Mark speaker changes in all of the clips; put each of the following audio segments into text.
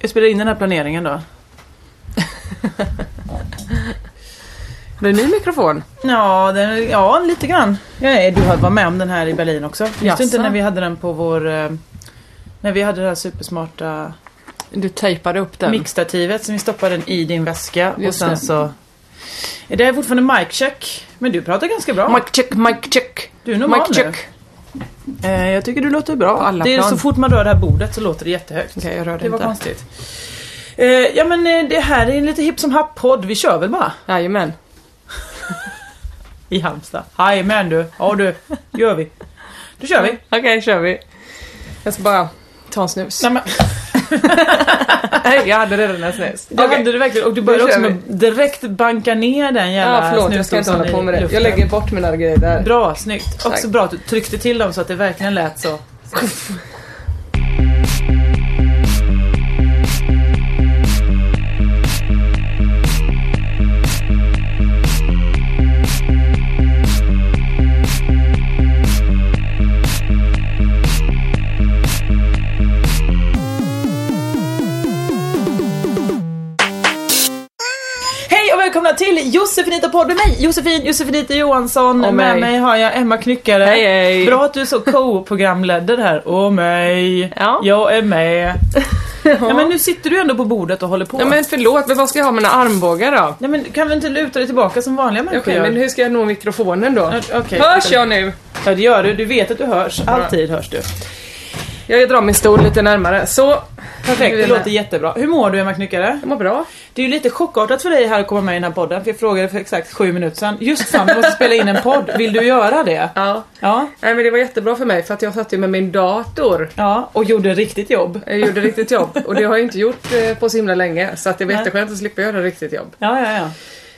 Speaker 1: Jag spelar in den här planeringen då.
Speaker 2: Blir det ny mikrofon?
Speaker 1: Ja, den, ja lite grann. Ja, eh, du har varit med om den här i Berlin också. Minns
Speaker 2: Jaså?
Speaker 1: du inte när vi hade den på vår... eh, När vi hade det här supersmarta
Speaker 2: Du tejpade upp den.
Speaker 1: mixtativet som vi stoppade den i din väska och
Speaker 2: Just
Speaker 1: sen
Speaker 2: det.
Speaker 1: så... Eh, Det är fortfarande mic-check, men du pratar ganska bra.
Speaker 2: Mic check, mic check.
Speaker 1: Du är normal
Speaker 2: mic
Speaker 1: nu.
Speaker 2: check. Okej,
Speaker 1: Eh, jag tycker du låter bra.
Speaker 2: På alla
Speaker 1: det är
Speaker 2: plan.
Speaker 1: så fort man rör det här bordet så låter det jättehögt.
Speaker 2: jag rör
Speaker 1: Det var
Speaker 2: inte.
Speaker 1: konstigt. Eh, ja men eh, det här är en lite hipp som happ-podd. Vi kör väl bara.
Speaker 2: Jajamän.
Speaker 1: I Halmstad. Jajamän du. Ja du. Gör vi. Då kör vi.
Speaker 2: Okej, kör vi. Jag ska bara ta en snus.
Speaker 1: Nej, men,
Speaker 2: Nej, jag hade redan en snus.
Speaker 1: det
Speaker 2: Okej.
Speaker 1: hade du verkligen. Och du började
Speaker 2: Då
Speaker 1: också
Speaker 2: kör
Speaker 1: med att direkt banka ner den
Speaker 2: Ja,
Speaker 1: jävla
Speaker 2: förlåt. Jag ska inte
Speaker 1: snusdosan
Speaker 2: hålla på
Speaker 1: i
Speaker 2: med det.
Speaker 1: luften.
Speaker 2: Jag lägger bort mina grejer där.
Speaker 1: Bra, snyggt. Också
Speaker 2: Tack.
Speaker 1: bra att du tryckte till dem så att det verkligen lät så. Hej och välkomna till Josefinita podd med mig Josefin Josefinita Johansson. med
Speaker 2: Och mig.
Speaker 1: mig har jag Emma Knyckare.
Speaker 2: Hej, hej.
Speaker 1: Bra att du är så co-programledare här. Och mig.
Speaker 2: Ja.
Speaker 1: Jag är med. Ja, men nu sitter du ändå på bordet och håller på.
Speaker 2: Ja, men förlåt, men vad ska jag ha mina armbågar då?
Speaker 1: Nej men kan vi inte luta dig tillbaka som vanliga
Speaker 2: Okej,
Speaker 1: människor
Speaker 2: men hur ska jag nå mikrofonen då?
Speaker 1: gör? Okej.
Speaker 2: Hörs jag nu?
Speaker 1: Ja det gör du, du vet att du hörs. Alltid hörs du.
Speaker 2: Jag drar min stol lite närmare. Så.
Speaker 1: Perfekt,
Speaker 2: Nu
Speaker 1: det
Speaker 2: är
Speaker 1: låter
Speaker 2: det.
Speaker 1: jättebra. Hur mår du Emma Knyckare?
Speaker 2: Jag mår bra.
Speaker 1: Det är ju lite chockartat för dig här att komma med i den här podden för jag frågade för exakt sju minuter sedan. Just fan, vi måste spela in en podd. Vill du göra det?
Speaker 2: Ja.
Speaker 1: Ja.
Speaker 2: Nej, men det var jättebra för mig för att jag satt ju med min dator.
Speaker 1: Ja, och gjorde riktigt jobb.
Speaker 2: Jag gjorde riktigt jobb och det har jag inte gjort eh, på så himla länge så att det var
Speaker 1: Nej.
Speaker 2: jätteskönt att slippa göra riktigt jobb.
Speaker 1: Ja, ja, ja.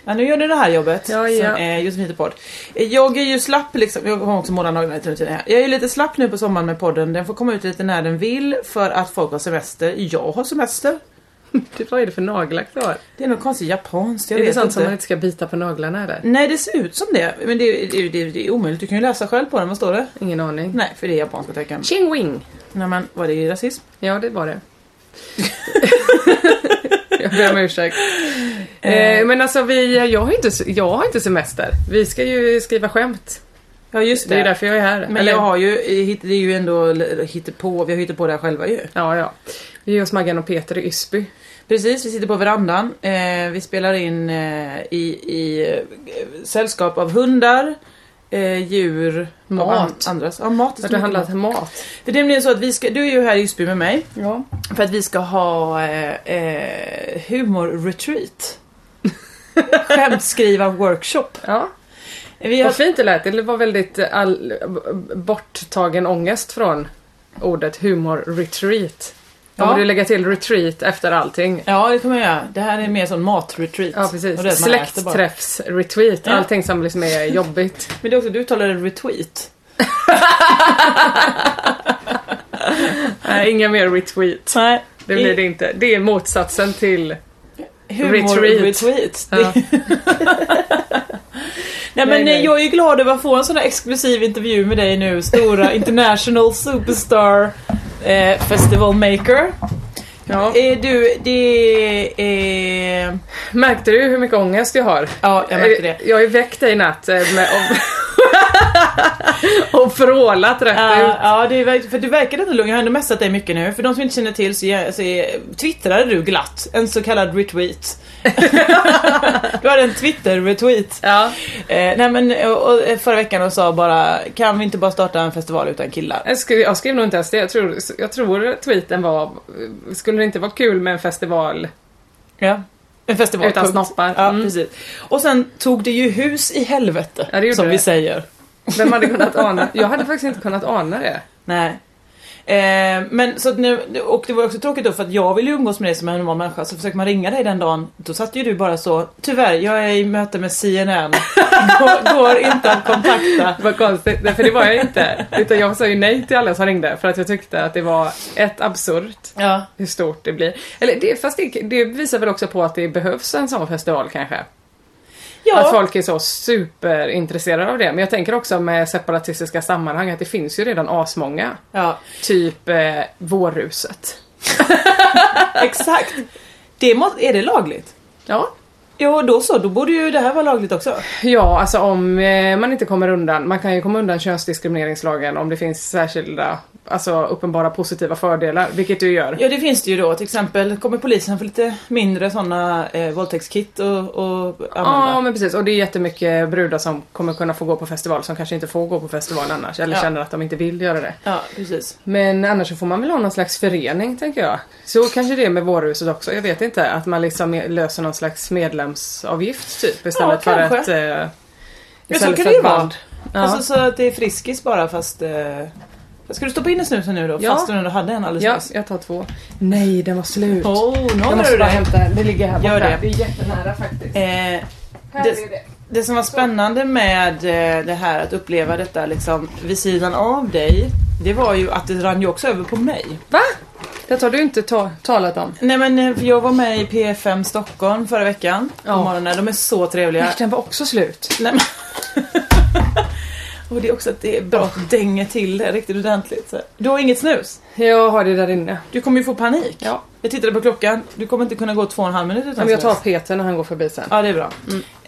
Speaker 1: Ja, nu gör du det här jobbet
Speaker 2: Ja, ja.
Speaker 1: som är Josefinito podd. Eh, Jag är ju slapp liksom, jag har också målat naglarna lite nu till det här. Jag är ju lite slapp nu på sommaren med podden. Den får komma ut lite när den vill för att folk har semester. Jag har semester.
Speaker 2: Du, Typ, vad är det för naglar kvar?
Speaker 1: Det är något konstigt japanskt, jag
Speaker 2: Är det
Speaker 1: vet
Speaker 2: sånt
Speaker 1: inte.
Speaker 2: som man inte ska bita på naglarna eller?
Speaker 1: Nej det ser ut som det, men det, det, det, det är omöjligt. Du kan ju läsa själv på den, vad står det?
Speaker 2: Ingen aning.
Speaker 1: Nej, för det är japanska tecken.
Speaker 2: Ching wing!
Speaker 1: Nej men var det rasism?
Speaker 2: Ja, det var det. jag ber om ursäkt. Eh, men alltså vi, jag har, ju inte, jag har inte semester. Vi ska ju skriva skämt.
Speaker 1: Ja just
Speaker 2: Det är ju därför jag är här.
Speaker 1: Men
Speaker 2: Eller-
Speaker 1: jag har ju, eh, hit- det är ju ändå l- hittepå, vi har hittat på det här själva ju.
Speaker 2: Ja, ja. Vi är hos Maggan och Peter i Ysby.
Speaker 1: Precis, vi sitter på verandan. Eh, vi spelar in eh, i, i eh, sällskap av hundar, eh, djur, och
Speaker 2: Mat.
Speaker 1: an- andras. Ja, mat.
Speaker 2: Har
Speaker 1: ska
Speaker 2: det
Speaker 1: vi
Speaker 2: handlat
Speaker 1: komma.
Speaker 2: om mat?
Speaker 1: För det är nämligen så att vi ska, du är ju här i Ysby med mig
Speaker 2: Ja.
Speaker 1: för att vi ska ha eh, eh, humorretreat. Skämtskrivar-workshop.
Speaker 2: Ja.
Speaker 1: Vi har,
Speaker 2: Vad fint det lät. Det var väldigt eh, all, b- borttagen ångest från ordet humor-retreat.
Speaker 1: Ja.
Speaker 2: Då borde du lägga till retreat efter allting.
Speaker 1: ja, det kommer jag göra. Det här är mer sån matretreat.
Speaker 2: Ja
Speaker 1: Och det är
Speaker 2: precis.
Speaker 1: att man äter bara.
Speaker 2: Släktträffs-retweet.
Speaker 1: Ja.
Speaker 2: Allting som liksom är jobbigt.
Speaker 1: Men det är också, du uttalade retweet.
Speaker 2: Nej, inga mer retweet.
Speaker 1: Nej.
Speaker 2: Det blir det inte. Det är motsatsen till...
Speaker 1: Humorretreat. retweat.
Speaker 2: Ja.
Speaker 1: Nej
Speaker 2: Nej,
Speaker 1: men
Speaker 2: nej.
Speaker 1: eh, jag är ju glad över att få en sån här exklusiv intervju med dig nu, stora international superstar eh, festival maker.
Speaker 2: Ja.
Speaker 1: Eh, du, det är...
Speaker 2: Märkte du hur mycket ångest jag har?
Speaker 1: Ja, jag märkte det.
Speaker 2: Eh, Jag har ju väckt dig i natt eh, med... och vrålat rätt
Speaker 1: Ja,
Speaker 2: ut.
Speaker 1: ja det är, för du verkar inte lugn. Jag har ändå messat dig mycket nu. För de som inte känner till så, jag, så är- twittrade du glatt en så kallad retweet. du hade en Twitter-retweet.
Speaker 2: Ja.
Speaker 1: Eh, nej men eh, och, eh, förra veckan och sa bara kan vi inte bara starta en festival utan killar?
Speaker 2: Jag skrev, jag skrev nog inte ens det. Jag tror, jag tror tweeten var, skulle det inte vara kul med en festival?
Speaker 1: Ja. En festival.
Speaker 2: Utan
Speaker 1: punkt.
Speaker 2: snoppar.
Speaker 1: Ja,
Speaker 2: Mm.
Speaker 1: precis. Och sen tog det ju hus i helvete.
Speaker 2: Ja, det gjorde
Speaker 1: som vi
Speaker 2: det.
Speaker 1: säger.
Speaker 2: Vem hade kunnat ana? Jag hade faktiskt inte kunnat ana det.
Speaker 1: Nej. Eh, men så att nu, och det var också tråkigt då för att jag ville ju umgås med dig som en normal människa så försökte man ringa dig den dagen då satt ju du bara så Tyvärr, jag är i möte med CNN. Går, går inte att kontakta.
Speaker 2: Det var konstigt, nej, för det var jag inte. Utan jag sa ju nej till alla som ringde för att jag tyckte att det var ett absurt
Speaker 1: Ja.
Speaker 2: hur stort det blir. Eller det, fast det, det visar väl också på att det behövs en sån festival kanske. Att
Speaker 1: Ja,
Speaker 2: folk är så superintresserade av det. Men jag tänker också med separatistiska sammanhang att det finns ju redan asmånga.
Speaker 1: ja
Speaker 2: Typ eh, Vårruset.
Speaker 1: exakt. Det må, är det lagligt?
Speaker 2: Ja.
Speaker 1: Jo, då så, då borde ju det här vara lagligt också.
Speaker 2: Ja, alltså om eh, man inte kommer undan. Man kan ju komma undan könsdiskrimineringslagen om det finns särskilda, alltså uppenbara positiva fördelar. Vilket du gör.
Speaker 1: Ja, det finns det ju då. Till exempel kommer polisen få lite mindre sådana eh, våldtäktskit och, och använda.
Speaker 2: Ja men precis och det är jättemycket brudar som kommer kunna få gå på festival som kanske inte får gå på festival annars eller
Speaker 1: Ja.
Speaker 2: känner att de inte vill göra det.
Speaker 1: Ja, precis.
Speaker 2: Men annars så får man väl ha någon slags förening tänker jag. Så kanske det är med vårhuset också, jag vet inte. Att man liksom löser någon slags medlemsavgift typ istället för
Speaker 1: kanske.
Speaker 2: ett... Eh,
Speaker 1: Ja, så
Speaker 2: istället
Speaker 1: kan
Speaker 2: för
Speaker 1: det ju
Speaker 2: ett
Speaker 1: vara.
Speaker 2: band. Ja.
Speaker 1: Alltså så att det är Friskis bara fast... Eh... Ska du stoppa in en snus nu då?
Speaker 2: Ja.
Speaker 1: Fast du ändå hade en alldeles
Speaker 2: ja,
Speaker 1: nyss.
Speaker 2: jag tar två. Nej, den var slut.
Speaker 1: Oh, nu
Speaker 2: jag
Speaker 1: ångrar
Speaker 2: måste
Speaker 1: du
Speaker 2: bara
Speaker 1: det.
Speaker 2: hämta den, det ligger här borta.
Speaker 1: Gör det.
Speaker 2: är jättenära faktiskt.
Speaker 1: Eh,
Speaker 2: Här
Speaker 1: det-
Speaker 2: är det.
Speaker 1: det som var spännande med eh, det här att uppleva detta liksom vid sidan av dig. Det var ju att det rann ju också över på mig.
Speaker 2: Va? Det har du inte ta- talat om.
Speaker 1: Nej men eh, för jag var med i P5 Stockholm förra veckan.
Speaker 2: Ja.
Speaker 1: På morgonen. De är så trevliga.
Speaker 2: Den var också slut.
Speaker 1: Nej, men... Och det är också att det är bra att dänga till det riktigt ordentligt. så här. Du har inget snus?
Speaker 2: Jag har det där inne.
Speaker 1: Du kommer ju få panik.
Speaker 2: Ja.
Speaker 1: Jag tittade på klockan, du kommer inte kunna gå två och en halv minut utan
Speaker 2: Men jag tar
Speaker 1: snus.
Speaker 2: Peter när han går förbi sen.
Speaker 1: Ja det är bra.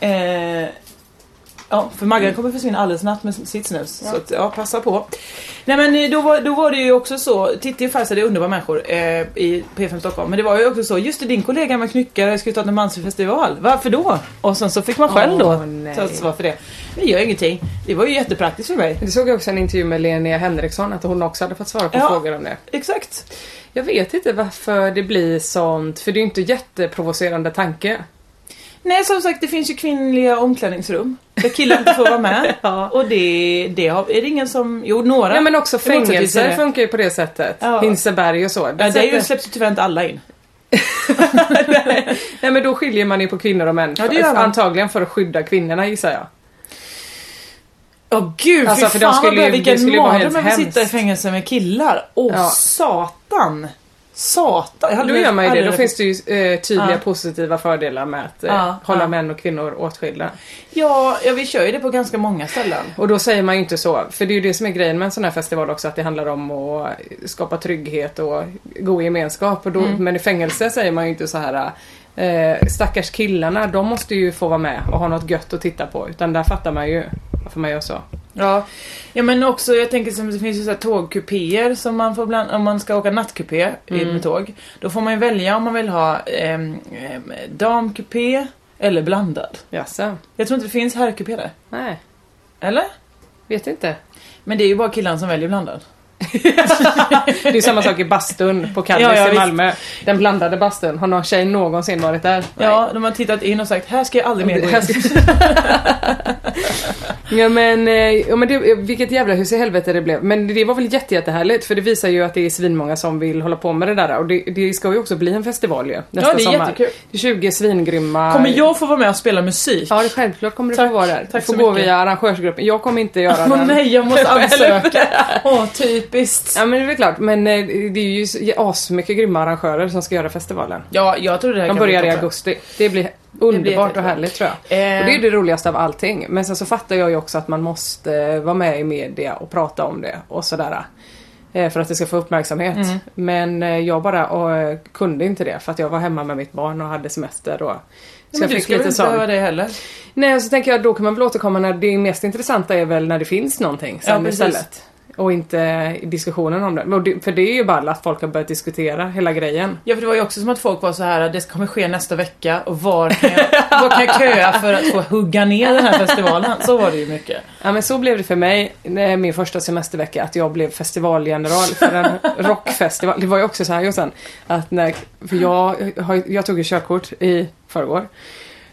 Speaker 2: Mm.
Speaker 1: Eh, ja, för Maggan kommer försvinna alldeles snabbt med sitt snus. Så att, ja, passa på. Nej men eh, då var, då var det ju också så, Titti och Farzad är underbara människor eh, i P5 Stockholm. Men det var ju också så, just det din kollega med knyckare skulle ta en mansfestival. Varför då? Och sen så fick man själv då
Speaker 2: Åh, nej.
Speaker 1: ta ansvar för det. Det gör ingenting. Det var ju jättepraktiskt för mig.
Speaker 2: Det såg jag också i en intervju med Linnea Henriksson att hon också hade fått svara på
Speaker 1: Ja.
Speaker 2: frågor om det.
Speaker 1: Exakt.
Speaker 2: Jag vet inte varför det blir sånt, för det är ju inte jätteprovocerande tanke.
Speaker 1: Nej som sagt det finns ju kvinnliga omklädningsrum. Där killar inte får vara med.
Speaker 2: Ja.
Speaker 1: Och det, det har, är det ingen som... Jo några.
Speaker 2: Nej men också
Speaker 1: Det motsätter sig
Speaker 2: fängelser
Speaker 1: det.
Speaker 2: funkar ju på det sättet.
Speaker 1: Ja.
Speaker 2: Hinseberg och så.
Speaker 1: Ja, det är ju,
Speaker 2: sätter-
Speaker 1: Alltså, släpps ju tyvärr inte alla in.
Speaker 2: Nej men då skiljer man ju på kvinnor och män.
Speaker 1: Ja, det gör man.
Speaker 2: Antagligen för att skydda kvinnorna gissar jag.
Speaker 1: Åh gud,
Speaker 2: Alltså,
Speaker 1: fy
Speaker 2: för de
Speaker 1: fan
Speaker 2: skulle
Speaker 1: vad bra,
Speaker 2: ju- det
Speaker 1: vilken
Speaker 2: skulle ju vara
Speaker 1: mardröm
Speaker 2: helt
Speaker 1: att sitta i
Speaker 2: hemskt.
Speaker 1: fängelse med killar. Åh
Speaker 2: Ja.
Speaker 1: satan! Satan! Jag hade
Speaker 2: Då
Speaker 1: velat-
Speaker 2: gör man ju
Speaker 1: hade
Speaker 2: det. Då
Speaker 1: velat-
Speaker 2: finns det ju eh, tydliga
Speaker 1: Ja.
Speaker 2: positiva fördelar med att eh,
Speaker 1: Ja,
Speaker 2: hålla
Speaker 1: ja.
Speaker 2: män och kvinnor åtskilda.
Speaker 1: Ja, ja, vi kör ju det på ganska många ställen.
Speaker 2: Och då säger man ju inte så, för det är ju det som är grejen med en sån här festival också, att det handlar om att skapa trygghet och god gemenskap. Och då,
Speaker 1: Mm.
Speaker 2: Men i fängelse säger man ju inte så här eh, stackars killarna, de måste ju få vara med och ha något gött att titta på. Utan där fattar man ju varför man gör så.
Speaker 1: Ja. ja, men också jag tänker som det finns ju så här tågkupéer som man får bland, om man ska åka nattkupé i
Speaker 2: Mm.
Speaker 1: med tåg. Då får man ju välja om man vill ha ehm, ehm, damkupé eller blandad.
Speaker 2: Jaså?
Speaker 1: Jag tror inte det finns herrkupé där.
Speaker 2: Nej,
Speaker 1: Eller?
Speaker 2: vet inte.
Speaker 1: Men det är ju bara killarna som väljer blandad.
Speaker 2: Det är ju samma sak i bastun på Kallis
Speaker 1: Ja, ja,
Speaker 2: i
Speaker 1: visst.
Speaker 2: Malmö. Den blandade bastun, har någon tjej någonsin varit där?
Speaker 1: Ja, de har tittat in och sagt här ska jag aldrig mer gå in.
Speaker 2: ja men, eh, ja, men det, vilket jävla hus i helvete det blev. Men det var väl jätte, jättehärligt för det visar ju att det är svinmånga som vill hålla på med det där och det, det ska ju också bli en festival ju. Nästa
Speaker 1: Ja, det är
Speaker 2: sommar.
Speaker 1: jättekul.
Speaker 2: Det är 20 svingrymma...
Speaker 1: Kommer jag få vara med och spela musik?
Speaker 2: Ja det självklart kommer du
Speaker 1: Tack,
Speaker 2: få vara där.
Speaker 1: tack
Speaker 2: du får
Speaker 1: så
Speaker 2: gå
Speaker 1: mycket.
Speaker 2: via arrangörsgruppen. Jag kommer inte göra
Speaker 1: Åh
Speaker 2: den.
Speaker 1: nej, jag måste
Speaker 2: Själv.
Speaker 1: ansöka. Åh, typiskt.
Speaker 2: Ja men det är väl klart men eh, det är ju s- asmycket grymma arrangörer som ska göra festivalen.
Speaker 1: Ja, jag tror det här
Speaker 2: De
Speaker 1: kan
Speaker 2: börjar
Speaker 1: bli
Speaker 2: i
Speaker 1: toppen.
Speaker 2: augusti. Det blir underbart
Speaker 1: jättebra.
Speaker 2: och härligt tror jag.
Speaker 1: Eh.
Speaker 2: Och det är ju det roligaste av allting. Men sen så fattar jag ju också att man måste eh, vara med i media och prata om det och sådär. Eh, eh, för att det ska få uppmärksamhet.
Speaker 1: Mm.
Speaker 2: Men eh, jag bara eh, kunde inte det för att jag var hemma med mitt barn och hade semester. Och, så
Speaker 1: men
Speaker 2: jag
Speaker 1: du
Speaker 2: fick
Speaker 1: skulle
Speaker 2: lite
Speaker 1: inte
Speaker 2: sån.
Speaker 1: behöva det heller.
Speaker 2: Nej, och så tänker jag då kan man väl återkomma när det mest intressanta är väl när det finns någonting
Speaker 1: Ja,
Speaker 2: sen
Speaker 1: precis.
Speaker 2: istället. Och inte diskussionen om det. Men det. För det är ju bara att folk har börjat diskutera hela grejen.
Speaker 1: Ja för det var ju också som att folk var så här det kommer ske nästa vecka och var kan jag, var kan jag köa för att få hugga ner den här festivalen? Så var det ju mycket.
Speaker 2: Ja men så blev det för mig eh, min första semestervecka att jag blev festivalgeneral för en rockfestival. Det var ju också så här Jossan, att när, för jag, har- jag tog ju körkort i förrgår.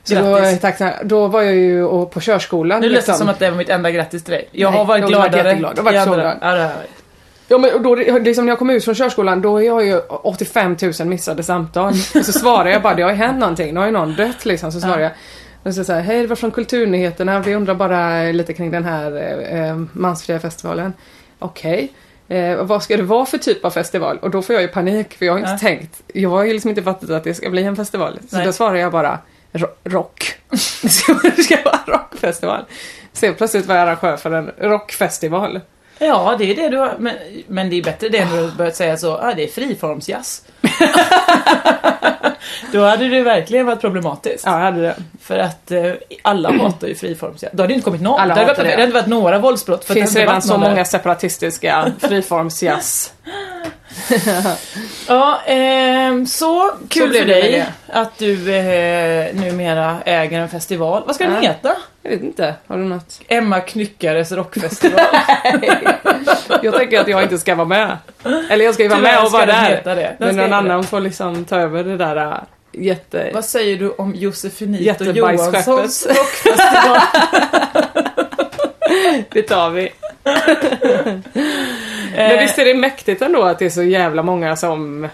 Speaker 2: Så då,
Speaker 1: Grattis.
Speaker 2: tack, tack. då var jag ju och- på körskolan.
Speaker 1: Nu lät det
Speaker 2: liksom.
Speaker 1: som att det var mitt enda grattis till dig. Jag
Speaker 2: Nej,
Speaker 1: har varit
Speaker 2: jag har varit
Speaker 1: gladare.
Speaker 2: jätteglad. Jag har varit
Speaker 1: i
Speaker 2: så
Speaker 1: andra-
Speaker 2: glad.
Speaker 1: Ja, det har jag varit.
Speaker 2: Ja men och då, liksom när jag kom ut från körskolan då är jag ju 85 000 missade samtal. Och så svarar jag bara, det har ju hänt någonting, nu har ju någon dött liksom. Så svarar jag. Och så säger hej det var från Kulturnyheterna, vi undrar bara lite kring den här eh, eh, mansfria festivalen. Okej. Eh, vad ska det vara för typ av festival? Och då får jag ju panik för jag har inte
Speaker 1: Ja.
Speaker 2: tänkt, jag har ju liksom inte fattat att det ska bli en festival. Så
Speaker 1: Nej.
Speaker 2: då svarar jag bara "Ro- rock. Det ska, det ska vara rockfestival. Så plötsligt var jag arrangör för en rockfestival.
Speaker 1: Ja, det är det du har. Men, men det är bättre det än att du börjat säga så, ah, det är friformsjazz. Då hade det verkligen varit problematiskt.
Speaker 2: Ja, jag hade det.
Speaker 1: För att eh, alla hatar ju friformsjazz. Då hade det inte kommit någon.
Speaker 2: Alla
Speaker 1: det, hade varit,
Speaker 2: hatar det.
Speaker 1: det hade varit några våldsbrott. För
Speaker 2: Det finns
Speaker 1: att det
Speaker 2: redan
Speaker 1: inte
Speaker 2: så
Speaker 1: varit någon
Speaker 2: många separatistiska friformsjazz.
Speaker 1: Ja, ehm, så kul
Speaker 2: blev
Speaker 1: för
Speaker 2: det med
Speaker 1: dig att du eh, numera äger en festival. Vad ska den
Speaker 2: Ja.
Speaker 1: heta?
Speaker 2: Jag vet inte, har du något?
Speaker 1: Emma Knyckares rockfestival.
Speaker 2: Jag tänker att jag inte ska vara med. Eller jag ska ju vara
Speaker 1: Tyvärr
Speaker 2: med och
Speaker 1: ska
Speaker 2: vara
Speaker 1: den
Speaker 2: där.
Speaker 1: heta det. Den
Speaker 2: Men
Speaker 1: ska
Speaker 2: någon
Speaker 1: heta det.
Speaker 2: annan får liksom ta över det där äh, jätte...
Speaker 1: Vad säger du om Josefinito
Speaker 2: Jättebajsskeppet.
Speaker 1: Johanssons rockfestival?
Speaker 2: Det tar
Speaker 1: Eh.
Speaker 2: vi. Men visst är det mäktigt ändå att det är så jävla många som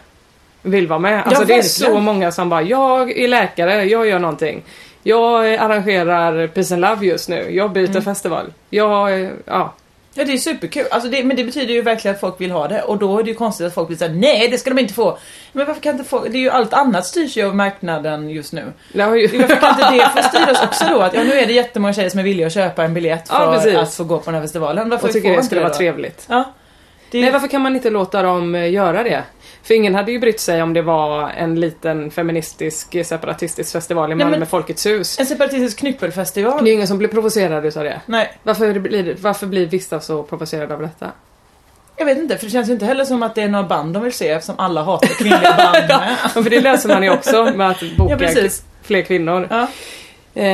Speaker 2: vill vara med. Alltså det är så
Speaker 1: verkligen.
Speaker 2: många som bara, jag är läkare, jag gör någonting. Jag eh, arrangerar Peace and Love just nu, jag byter
Speaker 1: Mm.
Speaker 2: festival. Jag, eh, ja.
Speaker 1: Ja det är superkul, alltså det, men det betyder ju verkligen att folk vill ha det och då är det ju konstigt att folk blir såhär nej det ska de inte få. Men varför kan inte folk, det är ju allt annat styrs ju av marknaden just nu.
Speaker 2: Det har ju-
Speaker 1: Varför kan inte det få styras också då? Att ja, nu är det jättemånga tjejer som är villiga att köpa en biljett
Speaker 2: Ja,
Speaker 1: för
Speaker 2: precis.
Speaker 1: att få gå på den här festivalen. Varför
Speaker 2: Jag
Speaker 1: får
Speaker 2: tycker det
Speaker 1: inte
Speaker 2: skulle vara
Speaker 1: då?
Speaker 2: trevligt.
Speaker 1: Ja. Det är
Speaker 2: Nej,
Speaker 1: ju-
Speaker 2: varför kan man inte låta dem eh, göra det? För ingen hade ju brytt sig om det var en liten feministisk eh, separatistisk festival i
Speaker 1: Nej,
Speaker 2: Malmö
Speaker 1: men-
Speaker 2: Folkets hus.
Speaker 1: En separatistisk knyppelfestival?
Speaker 2: Det är ju ingen som blir provocerad utav det.
Speaker 1: Nej,
Speaker 2: Varför blir, varför blir vissa så provocerade av detta?
Speaker 1: jag vet inte för det känns ju inte heller som att det är några band de vill se eftersom alla hatar kvinnliga band med.
Speaker 2: Ja, för det löser man ju också med att boka
Speaker 1: Ja, precis.
Speaker 2: fler kvinnor.
Speaker 1: Ja.
Speaker 2: Eh,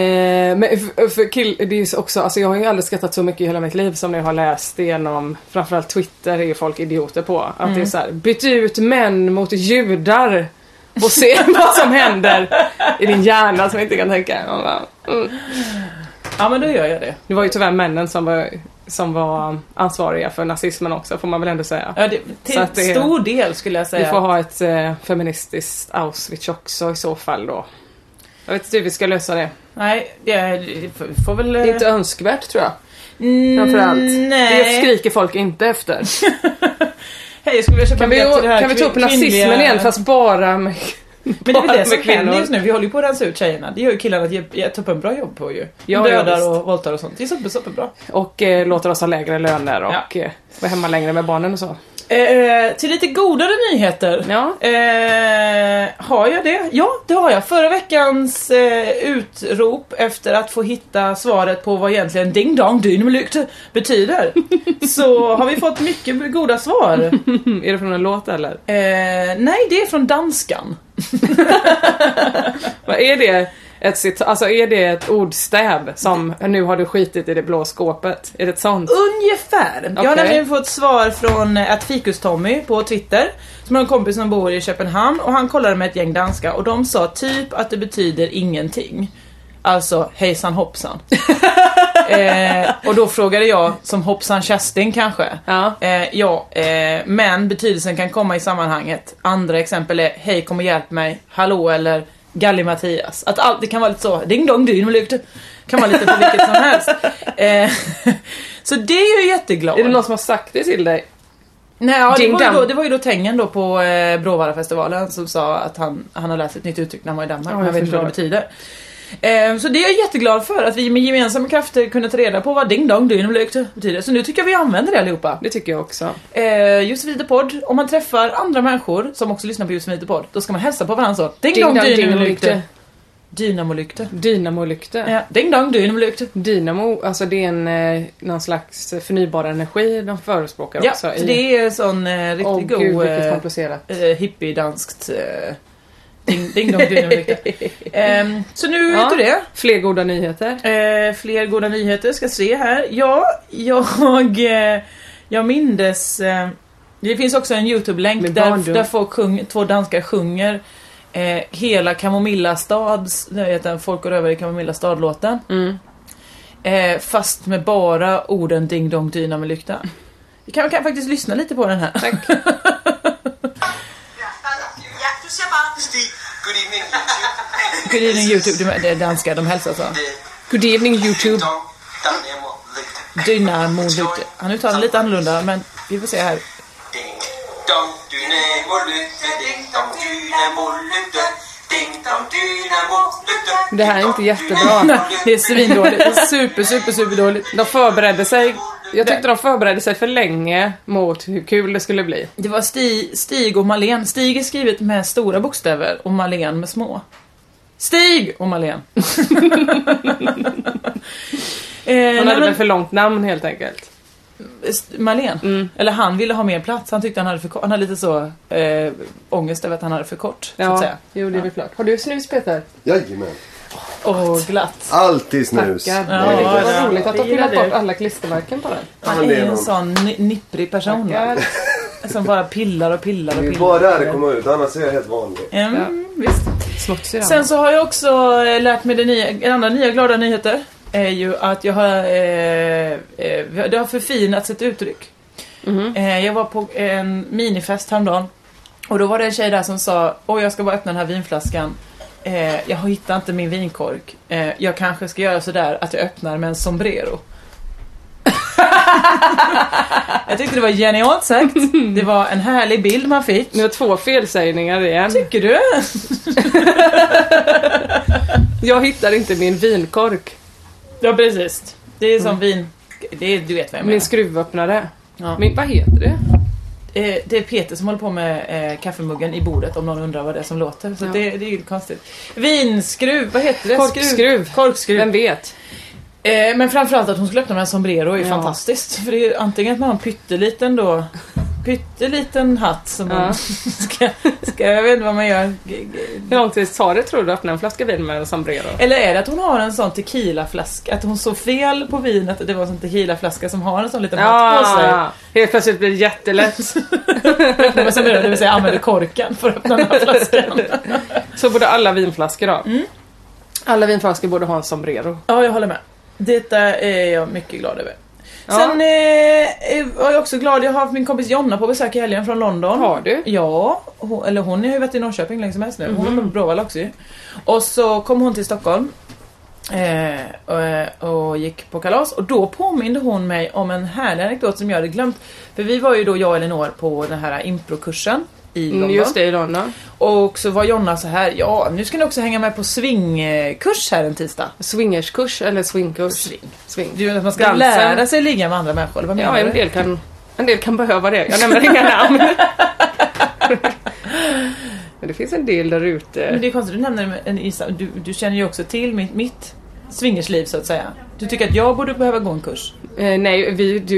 Speaker 2: men för, för kill, det är ju också, alltså jag har ju aldrig skrattat så mycket i hela mitt liv som när jag har läst igenom, framförallt Twitter är ju folk idioter på. Att det
Speaker 1: Mm.
Speaker 2: är så här, byt ut män mot judar och se vad som händer i din hjärna som inte kan tänka. Man bara, mm.
Speaker 1: ja men då gör jag det.
Speaker 2: Det var ju tyvärr männen som var, som var ansvariga för nazismen också får man väl ändå säga.
Speaker 1: Ja, det till
Speaker 2: Så att det-
Speaker 1: stor del skulle jag
Speaker 2: Vi
Speaker 1: säga.
Speaker 2: får ha ett eh, feministiskt Auschwitz också i så fall då. Jag vet inte hur vi ska lösa det.
Speaker 1: Nej, jag får väl...
Speaker 2: Det är inte önskvärt tror jag.
Speaker 1: Mm,
Speaker 2: Framförallt. Det
Speaker 1: Nej.
Speaker 2: skriker folk inte efter.
Speaker 1: Hej, jag skulle vilja köpa
Speaker 2: Kan
Speaker 1: en
Speaker 2: vi,
Speaker 1: biljett till det här
Speaker 2: kan vi ta upp
Speaker 1: kvin-
Speaker 2: nazismen
Speaker 1: kvinnliga-
Speaker 2: igen fast bara med...
Speaker 1: Men det är väl det som
Speaker 2: med kvinnor?
Speaker 1: händer just nu. Vi håller ju på att rensa ut tjejerna. Det gör ju killarna ett jätte- jättebra jobb på ju. De
Speaker 2: Ja,
Speaker 1: dödar
Speaker 2: ja, visst.
Speaker 1: och våldtar och sånt. Det är super, superbra.
Speaker 2: Och eh, låter oss ha lägre löner och eh, vara hemma längre med barnen och så.
Speaker 1: Eh, till lite godare nyheter.
Speaker 2: Ja.
Speaker 1: Eh, har jag det? Ja, det har jag. Förra veckans eh, utrop efter att få hitta svaret på vad egentligen ding dong dynamlykt betyder. så har vi fått mycket goda svar.
Speaker 2: Mm, är det från en låt eller?
Speaker 1: Eh, nej, det är från danskan.
Speaker 2: Vad är det? Ett cit- alltså är det ett ordstäv som nu har du skitit i det blå skåpet? Är det ett sånt?
Speaker 1: Ungefär. Jag har
Speaker 2: Okej.
Speaker 1: nämligen fått svar från eh, att Fikus-Tommy på Twitter, som har en kompis som bor i Köpenhamn och han kollade med ett gäng danska och de sa typ att det betyder ingenting. Alltså hejsan hoppsan. eh, och då frågade jag, som hoppsan Kerstin kanske.
Speaker 2: Ja.
Speaker 1: Eh, ja eh, men betydelsen kan komma i sammanhanget. Andra exempel är hej kom och hjälp mig, hallå eller Galli-Mattias. Att allt, det kan vara lite så, ding dong dyn Det kan vara lite på vilket som helst. Eh, så det är jag jätteglad.
Speaker 2: Är det någon som har sagt det till dig?
Speaker 1: Nej, ja, det,
Speaker 2: Ding
Speaker 1: var ju
Speaker 2: dong.
Speaker 1: då, det var ju då Tengen då på eh, Bråvallafestivalen som sa att han, han har lärt sig ett nytt uttryck när han var i Danmark.
Speaker 2: Ja,
Speaker 1: men
Speaker 2: jag
Speaker 1: jag vet inte vad det
Speaker 2: förstår.
Speaker 1: betyder. Eh, Så det är jag jätteglad för, att vi med gemensamma krafter kunde ta reda på vad ding dong dyn betyder. Så nu tycker jag vi använder det allihopa.
Speaker 2: Det tycker jag också.
Speaker 1: Eh, Josefin the podd, om man träffar andra människor som också lyssnar på Josefin the podd, då ska man hälsa på varandra så. Ding dong
Speaker 2: Ding dong,
Speaker 1: dynamolykte.
Speaker 2: dynamolykte.
Speaker 1: Dynamolykte.
Speaker 2: Dynamolykte.
Speaker 1: Ja, ding dong dynamolykte.
Speaker 2: Dynamo, alltså det är en, eh, någon slags förnybar energi de förespråkar
Speaker 1: Ja,
Speaker 2: också.
Speaker 1: så
Speaker 2: i-
Speaker 1: det är sån eh, riktigt
Speaker 2: Åh
Speaker 1: god...
Speaker 2: gud vilket
Speaker 1: eh,
Speaker 2: komplicerat.
Speaker 1: eh, hippiedanskt eh, ding, ding dong dynamolykta. Ehm, så nu vet
Speaker 2: Ja.
Speaker 1: du det.
Speaker 2: Fler goda nyheter.
Speaker 1: Eh, fler goda nyheter ska se här. Ja, jag, eh, jag mindes... Eh, det finns också en Youtube-länk
Speaker 2: Med
Speaker 1: där,
Speaker 2: barndom.
Speaker 1: där folk sjung, två danskar sjunger eh, hela Kamomilla stads, nu heter den Folk går över i Kamomilla stad-låten.
Speaker 2: Mm.
Speaker 1: Eh, fast med bara orden ding dong dyna med lykta. Vi kan, kan faktiskt lyssna lite på den här.
Speaker 3: Ja, du ser bare. Stig, good evening YouTube.
Speaker 1: Good evening Youtube, det är- det är danska, de hälsar så.
Speaker 3: Det
Speaker 2: Good evening
Speaker 3: er
Speaker 2: Youtube.
Speaker 3: dog, der er nemmere lidt.
Speaker 1: Dynamo lykta. Han uttalar det lite annorlunda men vi får se här.
Speaker 3: Ding dong, dynamo lygte, ding dong, dynamo lygte. Ding dong, dynamo lygte.
Speaker 2: Det här är inte jättebra.
Speaker 1: Det är svindåligt. Det är super, super, super dåligt.
Speaker 2: De förberedde sig. Jag tyckte de förberedde sig för länge mot hur kul det skulle bli.
Speaker 1: Det var Stig, Stig och Malen. Stig är skrivet med stora bokstäver och Malen med små. Stig och Malen.
Speaker 2: Hon hade väl
Speaker 1: eh,
Speaker 2: för långt namn helt enkelt.
Speaker 1: Malen. Eller han ville ha mer plats. Han tyckte han hade för kort. Han hade lite så eh, ångest över att han hade för kort. Så att säga.
Speaker 2: jo det är väl klart. Har du snus Peter?
Speaker 4: Jajamän.
Speaker 1: Och glatt.
Speaker 4: Alltid snus.
Speaker 2: Tackar.
Speaker 4: Nej,
Speaker 1: Ja,
Speaker 4: det-
Speaker 1: det-
Speaker 2: Vad roligt att du har
Speaker 1: Fira
Speaker 2: pillat
Speaker 1: det.
Speaker 2: bort alla klistermärken på den.
Speaker 1: Han
Speaker 4: men det
Speaker 1: är
Speaker 4: är
Speaker 1: en
Speaker 4: någon.
Speaker 1: sån ni- nipprig person. va?
Speaker 2: Tackar.
Speaker 1: Som bara pillar och pillar och
Speaker 4: Det
Speaker 1: pillar.
Speaker 4: är bara där det kommer ut, annars är jag helt vanlig.
Speaker 1: Mm, visst.
Speaker 2: Smutsig den.
Speaker 1: Sen så har jag också eh, lärt mig det nya, en annan nya glada nyheter. Är ju att jag har, eh, eh, det har förfinats ett uttryck. Eh, jag var på en minifest häromdagen. Och då var det en tjej där som sa, åh jag ska bara öppna den här vinflaskan. Eh, jag hittar inte min vinkork. Eh, jag kanske ska göra sådär att jag öppnar med en sombrero. jag tyckte det var genialt sagt. Det var en härlig bild man fick.
Speaker 2: Nu har två felsägningar igen.
Speaker 1: Tycker du?
Speaker 2: Jag hittar inte min vinkork.
Speaker 1: Ja precis. Det är som
Speaker 2: Mm.
Speaker 1: vin... Det är, du vet vad jag menar.
Speaker 2: Min skruvöppnare.
Speaker 1: Ja.
Speaker 2: Min, vad heter det?
Speaker 1: Eh, det är Peter som håller på med eh, kaffemuggen i bordet om någon undrar vad det är som låter. Så
Speaker 2: Ja.
Speaker 1: det, det är ju konstigt. Vinskruv, vad heter det?
Speaker 2: Korkskruv.
Speaker 1: Korkskruv.
Speaker 2: Vem vet?
Speaker 1: Eh, men framförallt att hon skulle öppna med en sombrero är ju
Speaker 2: Ja.
Speaker 1: fantastiskt. För det är ju antingen att man har en pytteliten då Pytteliten hatt som man
Speaker 2: Ja.
Speaker 1: ska, ska... Jag vet inte vad man gör. G- g-
Speaker 2: Hur lång tid tar det tror du att öppna en flaska vin med en sombrero?
Speaker 1: Eller är det att hon har en sån tequilaflaska? Att hon såg fel på vinet att det var en sån tequilaflaska som har en sån liten hatt på sig.
Speaker 2: Ja, helt plötsligt blir det jättelätt.
Speaker 1: Men som är det, det vill säga använder korken för att öppna den här flaskan.
Speaker 2: Så borde alla vinflaskor ha.
Speaker 1: Mm.
Speaker 2: Alla vinflaskor borde ha en sombrero.
Speaker 1: Ja, jag håller med. Detta är jag mycket glad över.
Speaker 2: Ja.
Speaker 1: Sen eh, var jag också glad, jag har haft min kompis Jonna på besök i helgen från London.
Speaker 2: Har du?
Speaker 1: Ja, hon, eller hon har ju varit i Norrköping länge som helst nu. Hon var
Speaker 2: Mm.
Speaker 1: på Bråvalla också ju. Och så kom hon till Stockholm. Eh, och, och gick på kalas och då påminde hon mig om en härlig anekdot som jag hade glömt. För vi var ju då, jag och Elinor, på den här improkursen i London.
Speaker 2: Mm, just det, i London.
Speaker 1: Och så var Jonna så här, ja nu ska ni också hänga med på swingkurs här en tisdag.
Speaker 2: Swingerskurs eller swingkurs?
Speaker 1: Swing.
Speaker 2: Swing.
Speaker 1: Du, vet att man ska
Speaker 2: Dansen.
Speaker 1: lära sig ligga med andra människor, eller vad menar
Speaker 2: Ja, en
Speaker 1: du?
Speaker 2: del, kan, en del kan behöva det. Jag nämner inga namn. Men det finns en del där
Speaker 1: Men
Speaker 2: ute.
Speaker 1: det är konstigt, du nämner en isa, du, du känner ju också till mitt, mitt swingersliv så att säga. Du tycker att jag borde behöva gå en kurs.
Speaker 2: Eh, nej, vi, du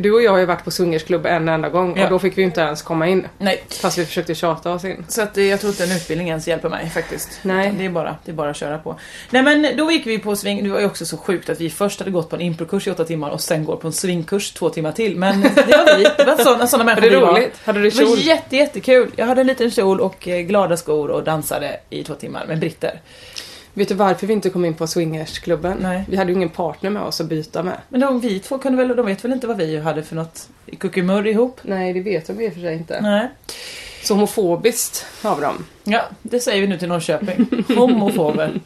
Speaker 2: Du och jag har ju varit på swingersklubb en enda gång
Speaker 1: Ja.
Speaker 2: och då fick vi ju inte ens komma in.
Speaker 1: Nej.
Speaker 2: Fast vi försökte tjata oss in.
Speaker 1: Så att eh, jag tror inte en utbildning ens hjälper mig faktiskt.
Speaker 2: Nej.
Speaker 1: Utan Det är, bara, det är bara att köra på. Nej men då gick vi på swing, det var ju också så sjukt att vi först hade gått på en improkurs i åtta timmar och sen går på en swingkurs två timmar till. Men det var inte vi, det var sådana, sådana människor
Speaker 2: Var det
Speaker 1: vi var.
Speaker 2: roligt? Hade du
Speaker 1: Det var
Speaker 2: kjol?
Speaker 1: jätte, jättekul. Jag hade en liten kjol och eh, glada skor och dansade i två timmar med britter.
Speaker 2: Vet du varför vi inte kom in på swingersklubben?
Speaker 1: Nej.
Speaker 2: Vi hade ju ingen partner med oss att byta med.
Speaker 1: Men de, vi två kunde väl, de vet väl inte vad vi hade för något kuckumurr ihop?
Speaker 2: Nej, det vet de i och för sig inte.
Speaker 1: Nej.
Speaker 2: Så homofobiskt av dem.
Speaker 1: Ja, det säger vi nu till Norrköping. Homofober.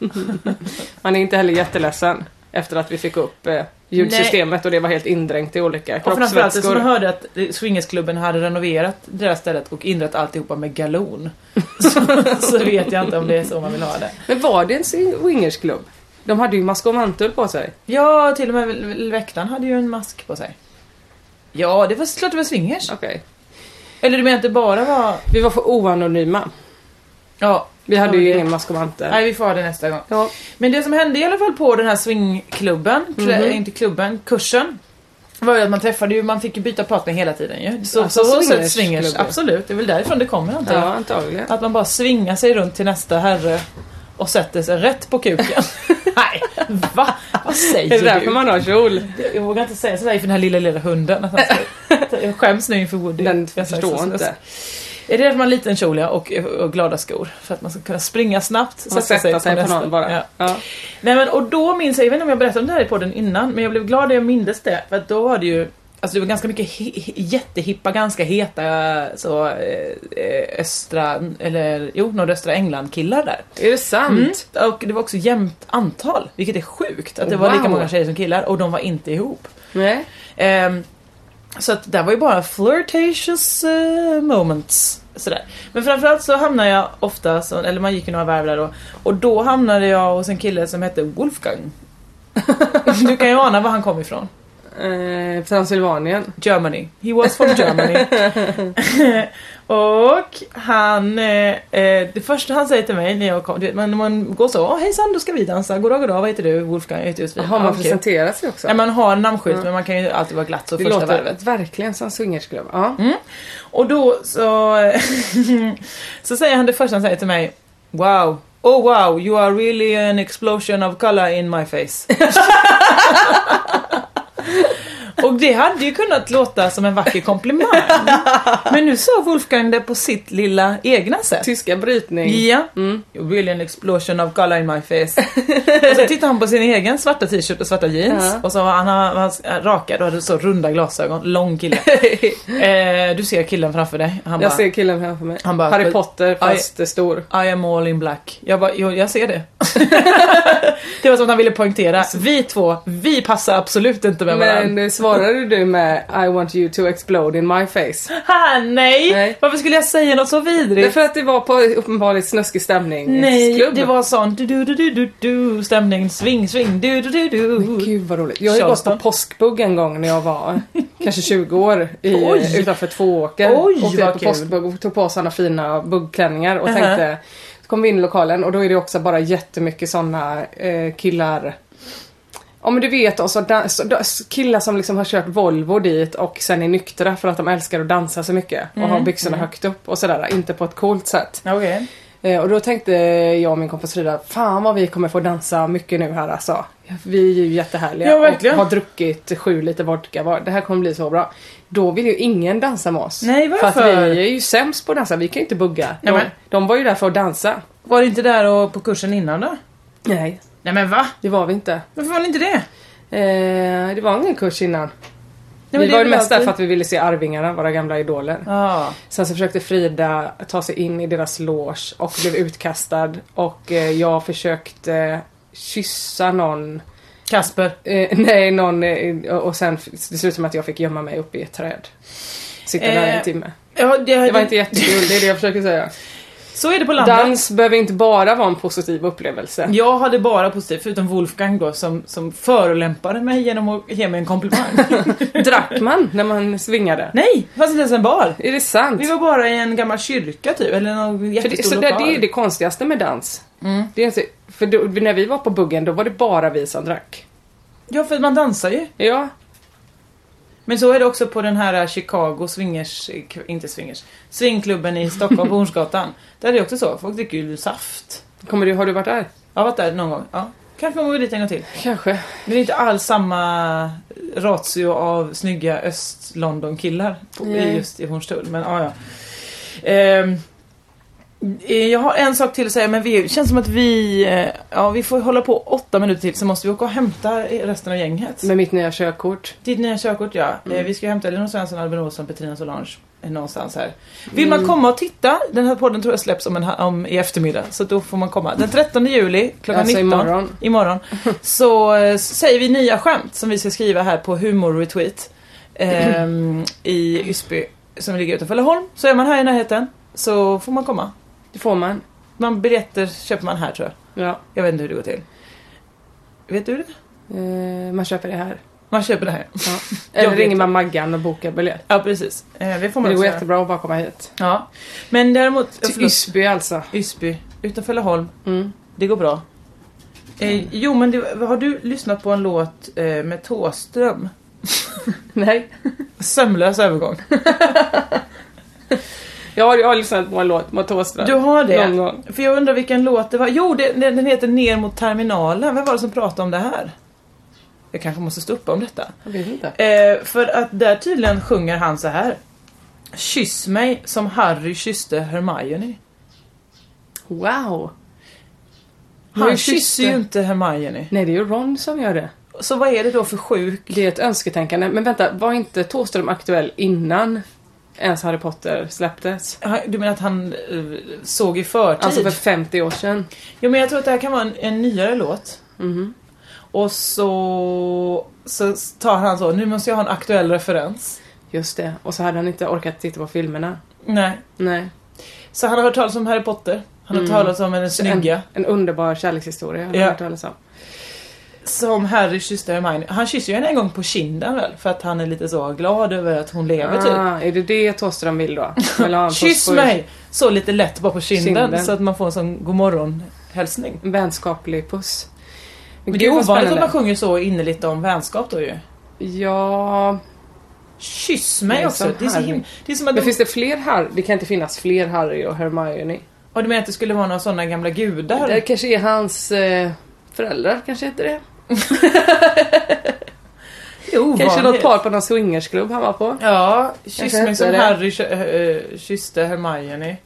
Speaker 2: Man är inte heller jätteledsen efter att vi fick upp eh, ljudsystemet och det var helt indränkt i olika
Speaker 1: Och framförallt så man
Speaker 2: kroppsvätskor.
Speaker 1: hörde att eh, swingersklubben hade renoverat det där stället och inrett alltihopa med galon. Så, så vet jag inte om det är så man vill ha det.
Speaker 2: Men var det en swingersklubb? De hade ju mask och mantel på sig.
Speaker 1: Ja, till och med väl- väl väktaren hade ju en mask på sig. Ja, det var klart det var swingers.
Speaker 2: Okej.
Speaker 1: Eller du menar att det bara var...
Speaker 2: Vi var för oanonyma.
Speaker 1: Ja,
Speaker 2: Vi hade
Speaker 1: Ja,
Speaker 2: ju
Speaker 1: det-
Speaker 2: ingen mask och mantel.
Speaker 1: nej vi får ha det nästa gång.
Speaker 2: Ja.
Speaker 1: Men det som hände i alla fall på den här swingklubben,
Speaker 2: Mhm.
Speaker 1: klä- inte klubben, kursen. Var ju att man träffade ju, man fick ju byta partner hela tiden ju. Så,
Speaker 2: Alltså
Speaker 1: så, så
Speaker 2: swingersklubb,
Speaker 1: swingers,
Speaker 2: ja.
Speaker 1: absolut. Det är väl därifrån det kommer antar jag.
Speaker 2: Ja, antagligen.
Speaker 1: Att man bara svingar sig runt till nästa herre och sätter sig rätt på kuken. Nej, va? Vad
Speaker 2: Är det
Speaker 1: säger
Speaker 2: därför
Speaker 1: du?
Speaker 2: man har kjol?
Speaker 1: Jag vågar inte säga sådär inför den här lilla, lilla hunden. att han ska- Jag skäms nu inför Woody.
Speaker 2: Den
Speaker 1: Jag sa
Speaker 2: förstår
Speaker 1: så-
Speaker 2: inte.
Speaker 1: Är det därför man har en liten kjol ja, och, och glada skor? För att man ska kunna springa snabbt,
Speaker 2: Man sätter sig på
Speaker 1: nästa.
Speaker 2: någon bara.
Speaker 1: Ja.
Speaker 2: Ja.
Speaker 1: Nej men och då minns jag, jag vet inte om jag berättade om det här i podden innan, men jag blev glad när jag mindes det. För att då var det ju, alltså det var ganska mycket he- he- jättehippa, ganska heta så eh, eh, östra, eller jo, nordöstra England killar där.
Speaker 2: Är det sant?
Speaker 1: Och det var också jämnt antal, vilket är sjukt. Att det var
Speaker 2: Wow.
Speaker 1: lika många tjejer som killar och de var inte ihop.
Speaker 2: Nej.
Speaker 1: Ehm, så att det var ju bara flirtatious eh, moments. Sådär. Men framförallt så hamnade jag ofta, så, eller man gick ju några varv där då, och då hamnade jag hos en kille som hette Wolfgang. du kan ju ana var han kom ifrån.
Speaker 2: Eh, Transylvanien.
Speaker 1: Germany. He was from Germany. och han, eh, eh, det första han säger till mig när jag kom, du vet, men när man går så, "Åh, hejsan då ska vi dansa, goddag goddag, vad heter du? Wolfgang, jag heter Josefin.
Speaker 2: Har
Speaker 1: "Ah,
Speaker 2: man
Speaker 1: okej."
Speaker 2: presenterat sig också?
Speaker 1: Nej, man har namnskylt men man kan ju alltid vara glatt så
Speaker 2: det
Speaker 1: första
Speaker 2: låter
Speaker 1: varvet. Mm.
Speaker 2: verkligen som swingersklubb. Ja.
Speaker 1: Och då så, så säger han det första han säger till mig Wow, oh wow, you are really an explosion of color in my face. Och det hade ju kunnat låta som en vacker komplimang. Men nu sa Wolfgang det på sitt lilla egna sätt.
Speaker 2: Tyska brytning.
Speaker 1: Ja. You're really an explosion of color in my face. och så tittade han på sin egen svarta t-shirt och svarta jeans.
Speaker 2: Ja.
Speaker 1: Och så var han, han, han rakad och hade så runda glasögon. Lång kille. eh, du ser killen framför dig. Han
Speaker 2: Jag
Speaker 1: bara,
Speaker 2: ser killen framför mig.
Speaker 1: Han bara-
Speaker 2: Harry Potter fast stor.
Speaker 1: I am all in black. Jag bara, jo, jag ser det. det var som att han ville poängtera.
Speaker 2: Alltså-
Speaker 1: Vi två, vi passar absolut inte med varandra.
Speaker 2: Men eh, svarade du med I want you to explode in my face?
Speaker 1: Ha, nej.
Speaker 2: Nej.
Speaker 1: Varför skulle jag säga något så vidrigt?
Speaker 2: Därför att det var på uppenbarligen snuskig stämning.
Speaker 1: Nej,
Speaker 2: Klubb.
Speaker 1: det var sån du du du du du du stämning, sving, sving, du du du du.
Speaker 2: Gud vad roligt. Jag har ju gått på
Speaker 1: Charleston.
Speaker 2: påskbugg en gång när jag var kanske 20 år i,
Speaker 1: Oj.
Speaker 2: utanför Tvååker.
Speaker 1: Oj,
Speaker 2: Åkte
Speaker 1: vad
Speaker 2: ut på
Speaker 1: kul.
Speaker 2: påskbugg och tog på oss såna fina buggklänningar och
Speaker 1: Mhm.
Speaker 2: tänkte så kom vi in i lokalen och då är det också bara jättemycket såna eh, killar Ja men du vet också dan- så- dans- killar som liksom har kört Volvo dit och sen är nyktra för att de älskar att dansa så mycket och
Speaker 1: Mm.
Speaker 2: har byxorna högt upp och sådär, inte på ett coolt sätt.
Speaker 1: Okej.
Speaker 2: Eh, Och då tänkte jag och min kompis Frida, fan vad vi kommer få dansa mycket nu här alltså. Vi är ju jättehärliga
Speaker 1: Ja, verkligen.
Speaker 2: och har druckit sju liter vodka var. Det här kommer bli så bra. Då vill ju ingen dansa med oss.
Speaker 1: Nej,
Speaker 2: För
Speaker 1: varför?
Speaker 2: att vi är ju sämst på att dansa, vi kan ju inte bugga.
Speaker 1: Nej,
Speaker 2: De,
Speaker 1: men-
Speaker 2: de var ju där för att dansa.
Speaker 1: Var du inte där och på kursen innan då?
Speaker 2: Nej.
Speaker 1: Nej men va?
Speaker 2: Det var vi inte.
Speaker 1: Varför var ni inte det?
Speaker 2: Eh, det var ingen kurs innan.
Speaker 1: men
Speaker 2: vi
Speaker 1: det
Speaker 2: var
Speaker 1: är
Speaker 2: ju
Speaker 1: väl
Speaker 2: mest där
Speaker 1: alltid-
Speaker 2: för att vi ville se Arvingarna, våra gamla idoler.
Speaker 1: Ja.
Speaker 2: Sen så försökte Frida ta sig in i deras loge och blev utkastad och eh, jag försökte kyssa någon,
Speaker 1: Kasper.
Speaker 2: eh, nej någon eh, och sen f- det slutade som att jag fick gömma mig uppe i ett träd. Sitta där
Speaker 1: Eh,
Speaker 2: en timme.
Speaker 1: Ja, det,
Speaker 2: Det var inte jättekul, det är det jag försöker säga.
Speaker 1: Så är det på landet.
Speaker 2: Dans behöver inte bara vara en positiv upplevelse.
Speaker 1: Jag hade bara positivt, förutom Wolfgang då som, som förolämpade mig genom att ge mig en komplimang.
Speaker 2: Drack man när man svingade?
Speaker 1: Nej, det fanns inte ens en bar.
Speaker 2: Är det sant?
Speaker 1: Vi var bara i en gammal kyrka typ, eller någon
Speaker 2: För det,
Speaker 1: jättestor
Speaker 2: så
Speaker 1: lokal. Mm.
Speaker 2: där, det är ju det konstigaste med dans. Det är inte, för då, när vi var på buggen då var det bara vi som drack.
Speaker 1: Ja, för man dansar ju.
Speaker 2: Ja.
Speaker 1: Men så är det också på den här eh, Chicago swingers, eh, inte swingers, swingklubben i Stockholm på Hornsgatan. Där är det också så, folk dricker ju saft.
Speaker 2: Kommer du, har du varit där?
Speaker 1: Jag har varit där någon gång, ja. Kanske man går dit en gång till.
Speaker 2: Kanske.
Speaker 1: Det är inte alls samma ratio av snygga öst-London-killar på-
Speaker 2: Nej.
Speaker 1: i just i Hornstull, men ja, ja. Ehm, eh, jag har en sak till att säga, men vi det känns som att vi, eh, ja, vi får hålla på åtta minuter till, så måste vi åka och hämta resten av gänget.
Speaker 2: Med mitt nya körkort.
Speaker 1: Ditt nya körkort ja.
Speaker 2: Mm.
Speaker 1: Eh, Vi ska hämta Elinor Svensson, Albin Olsson, Petrina Solange. eh, Någonstans här. Vill
Speaker 2: Mm.
Speaker 1: man komma och titta? Den här podden tror jag släpps om en, ha- om, i eftermiddag. Så då får man komma. Den 13 juli klockan
Speaker 2: Alltså
Speaker 1: 19.
Speaker 2: imorgon.
Speaker 1: imorgon. Så eh, säger vi nya skämt som vi ska skriva här på Humor Retweet. ehm, I Ysby som ligger utanför Laholm. Så är man här i närheten så får man komma.
Speaker 2: Det får man.
Speaker 1: Man biljetter köper man här tror jag.
Speaker 2: Ja.
Speaker 1: Jag vet inte hur det går till. Vet du det?
Speaker 2: Eh, man köper det här.
Speaker 1: Man köper det här.
Speaker 2: Ja.
Speaker 1: Jag
Speaker 2: Eller
Speaker 1: vet
Speaker 2: ringer
Speaker 1: det.
Speaker 2: man Maggan och bokar biljett.
Speaker 1: Ja precis. Eh, Det får man
Speaker 2: Men det går
Speaker 1: också göra.
Speaker 2: jättebra att bara komma hit.
Speaker 1: Ja. Men däremot...
Speaker 2: Till Ysby alltså.
Speaker 1: Ysby. Utanför Laholm.
Speaker 2: Mm.
Speaker 1: Det går bra. Eh, jo men det, har du lyssnat på en låt eh, med Tåström?
Speaker 2: Nej.
Speaker 1: Sömlös övergång.
Speaker 2: Jag har, jag har lyssnat på en låt med Thåström.
Speaker 1: Du har det?
Speaker 2: Någon gång.
Speaker 1: För jag undrar vilken låt det var. Jo det, den, den heter Ner mot terminalen. Vem var det som pratade om det här? Jag kanske måste stå upp om detta.
Speaker 2: Jag vet inte.
Speaker 1: Eh, för att där tydligen sjunger han så här. Kyss mig som Harry kysste Hermione.
Speaker 2: Wow.
Speaker 1: Han
Speaker 2: Men
Speaker 1: kysser ju inte Hermione.
Speaker 2: Nej, det är ju Ron som gör det.
Speaker 1: Så vad är det då för sjuk
Speaker 2: Det är ett önsketänkande. Men vänta, var inte Thåström aktuell innan ens Harry Potter släpptes?
Speaker 1: Han- Du menar att han eh, såg i förtid?
Speaker 2: Alltså för 50 år sedan.
Speaker 1: Jo men jag tror att det här kan vara en, en nyare låt.
Speaker 2: Mhm.
Speaker 1: Och så, så tar han så, nu måste jag ha en aktuell referens.
Speaker 2: Just det. Och så hade han inte orkat titta på filmerna.
Speaker 1: Nej.
Speaker 2: Nej.
Speaker 1: Så han har hört talas om Harry Potter. Han har talat om den snygga.
Speaker 2: Mm. En, en underbar kärlekshistoria har
Speaker 1: Ja.
Speaker 2: jag hört talas om.
Speaker 1: Som Harry kysste Hermione. Han kysser ju henne en gång på kinden väl? För att han är lite så glad över att hon lever typ.
Speaker 2: Ah, är det det Thåström vill då? Eller har han fått
Speaker 1: Kyss
Speaker 2: på-
Speaker 1: mig! Så lite lätt bara på kinden,
Speaker 2: Ah, Kinden.
Speaker 1: så att man får en sån godmorgon hälsning.
Speaker 2: En vänskaplig puss.
Speaker 1: Men det är ovanligt att man
Speaker 2: spännande.
Speaker 1: sjunger så innerligt om vänskap då ju.
Speaker 2: Ja...
Speaker 1: Kyss mig
Speaker 2: Nej,
Speaker 1: också.
Speaker 2: som
Speaker 1: Det är, så
Speaker 2: Harry.
Speaker 1: himla, det är som att
Speaker 2: Men
Speaker 1: de,
Speaker 2: finns det fler Harry? Det kan inte finnas fler Harry och Hermione.
Speaker 1: och du menar att det skulle vara några sådana gamla gudar?
Speaker 2: Det kanske är hans eh, föräldrar, kanske heter det.
Speaker 1: jo,
Speaker 2: Kanske något par på någon swingersklubb han var på.
Speaker 1: Ja, kyss
Speaker 2: Kanske
Speaker 1: mig som
Speaker 2: heter det.
Speaker 1: Harry kö- äh, kysste Hermione.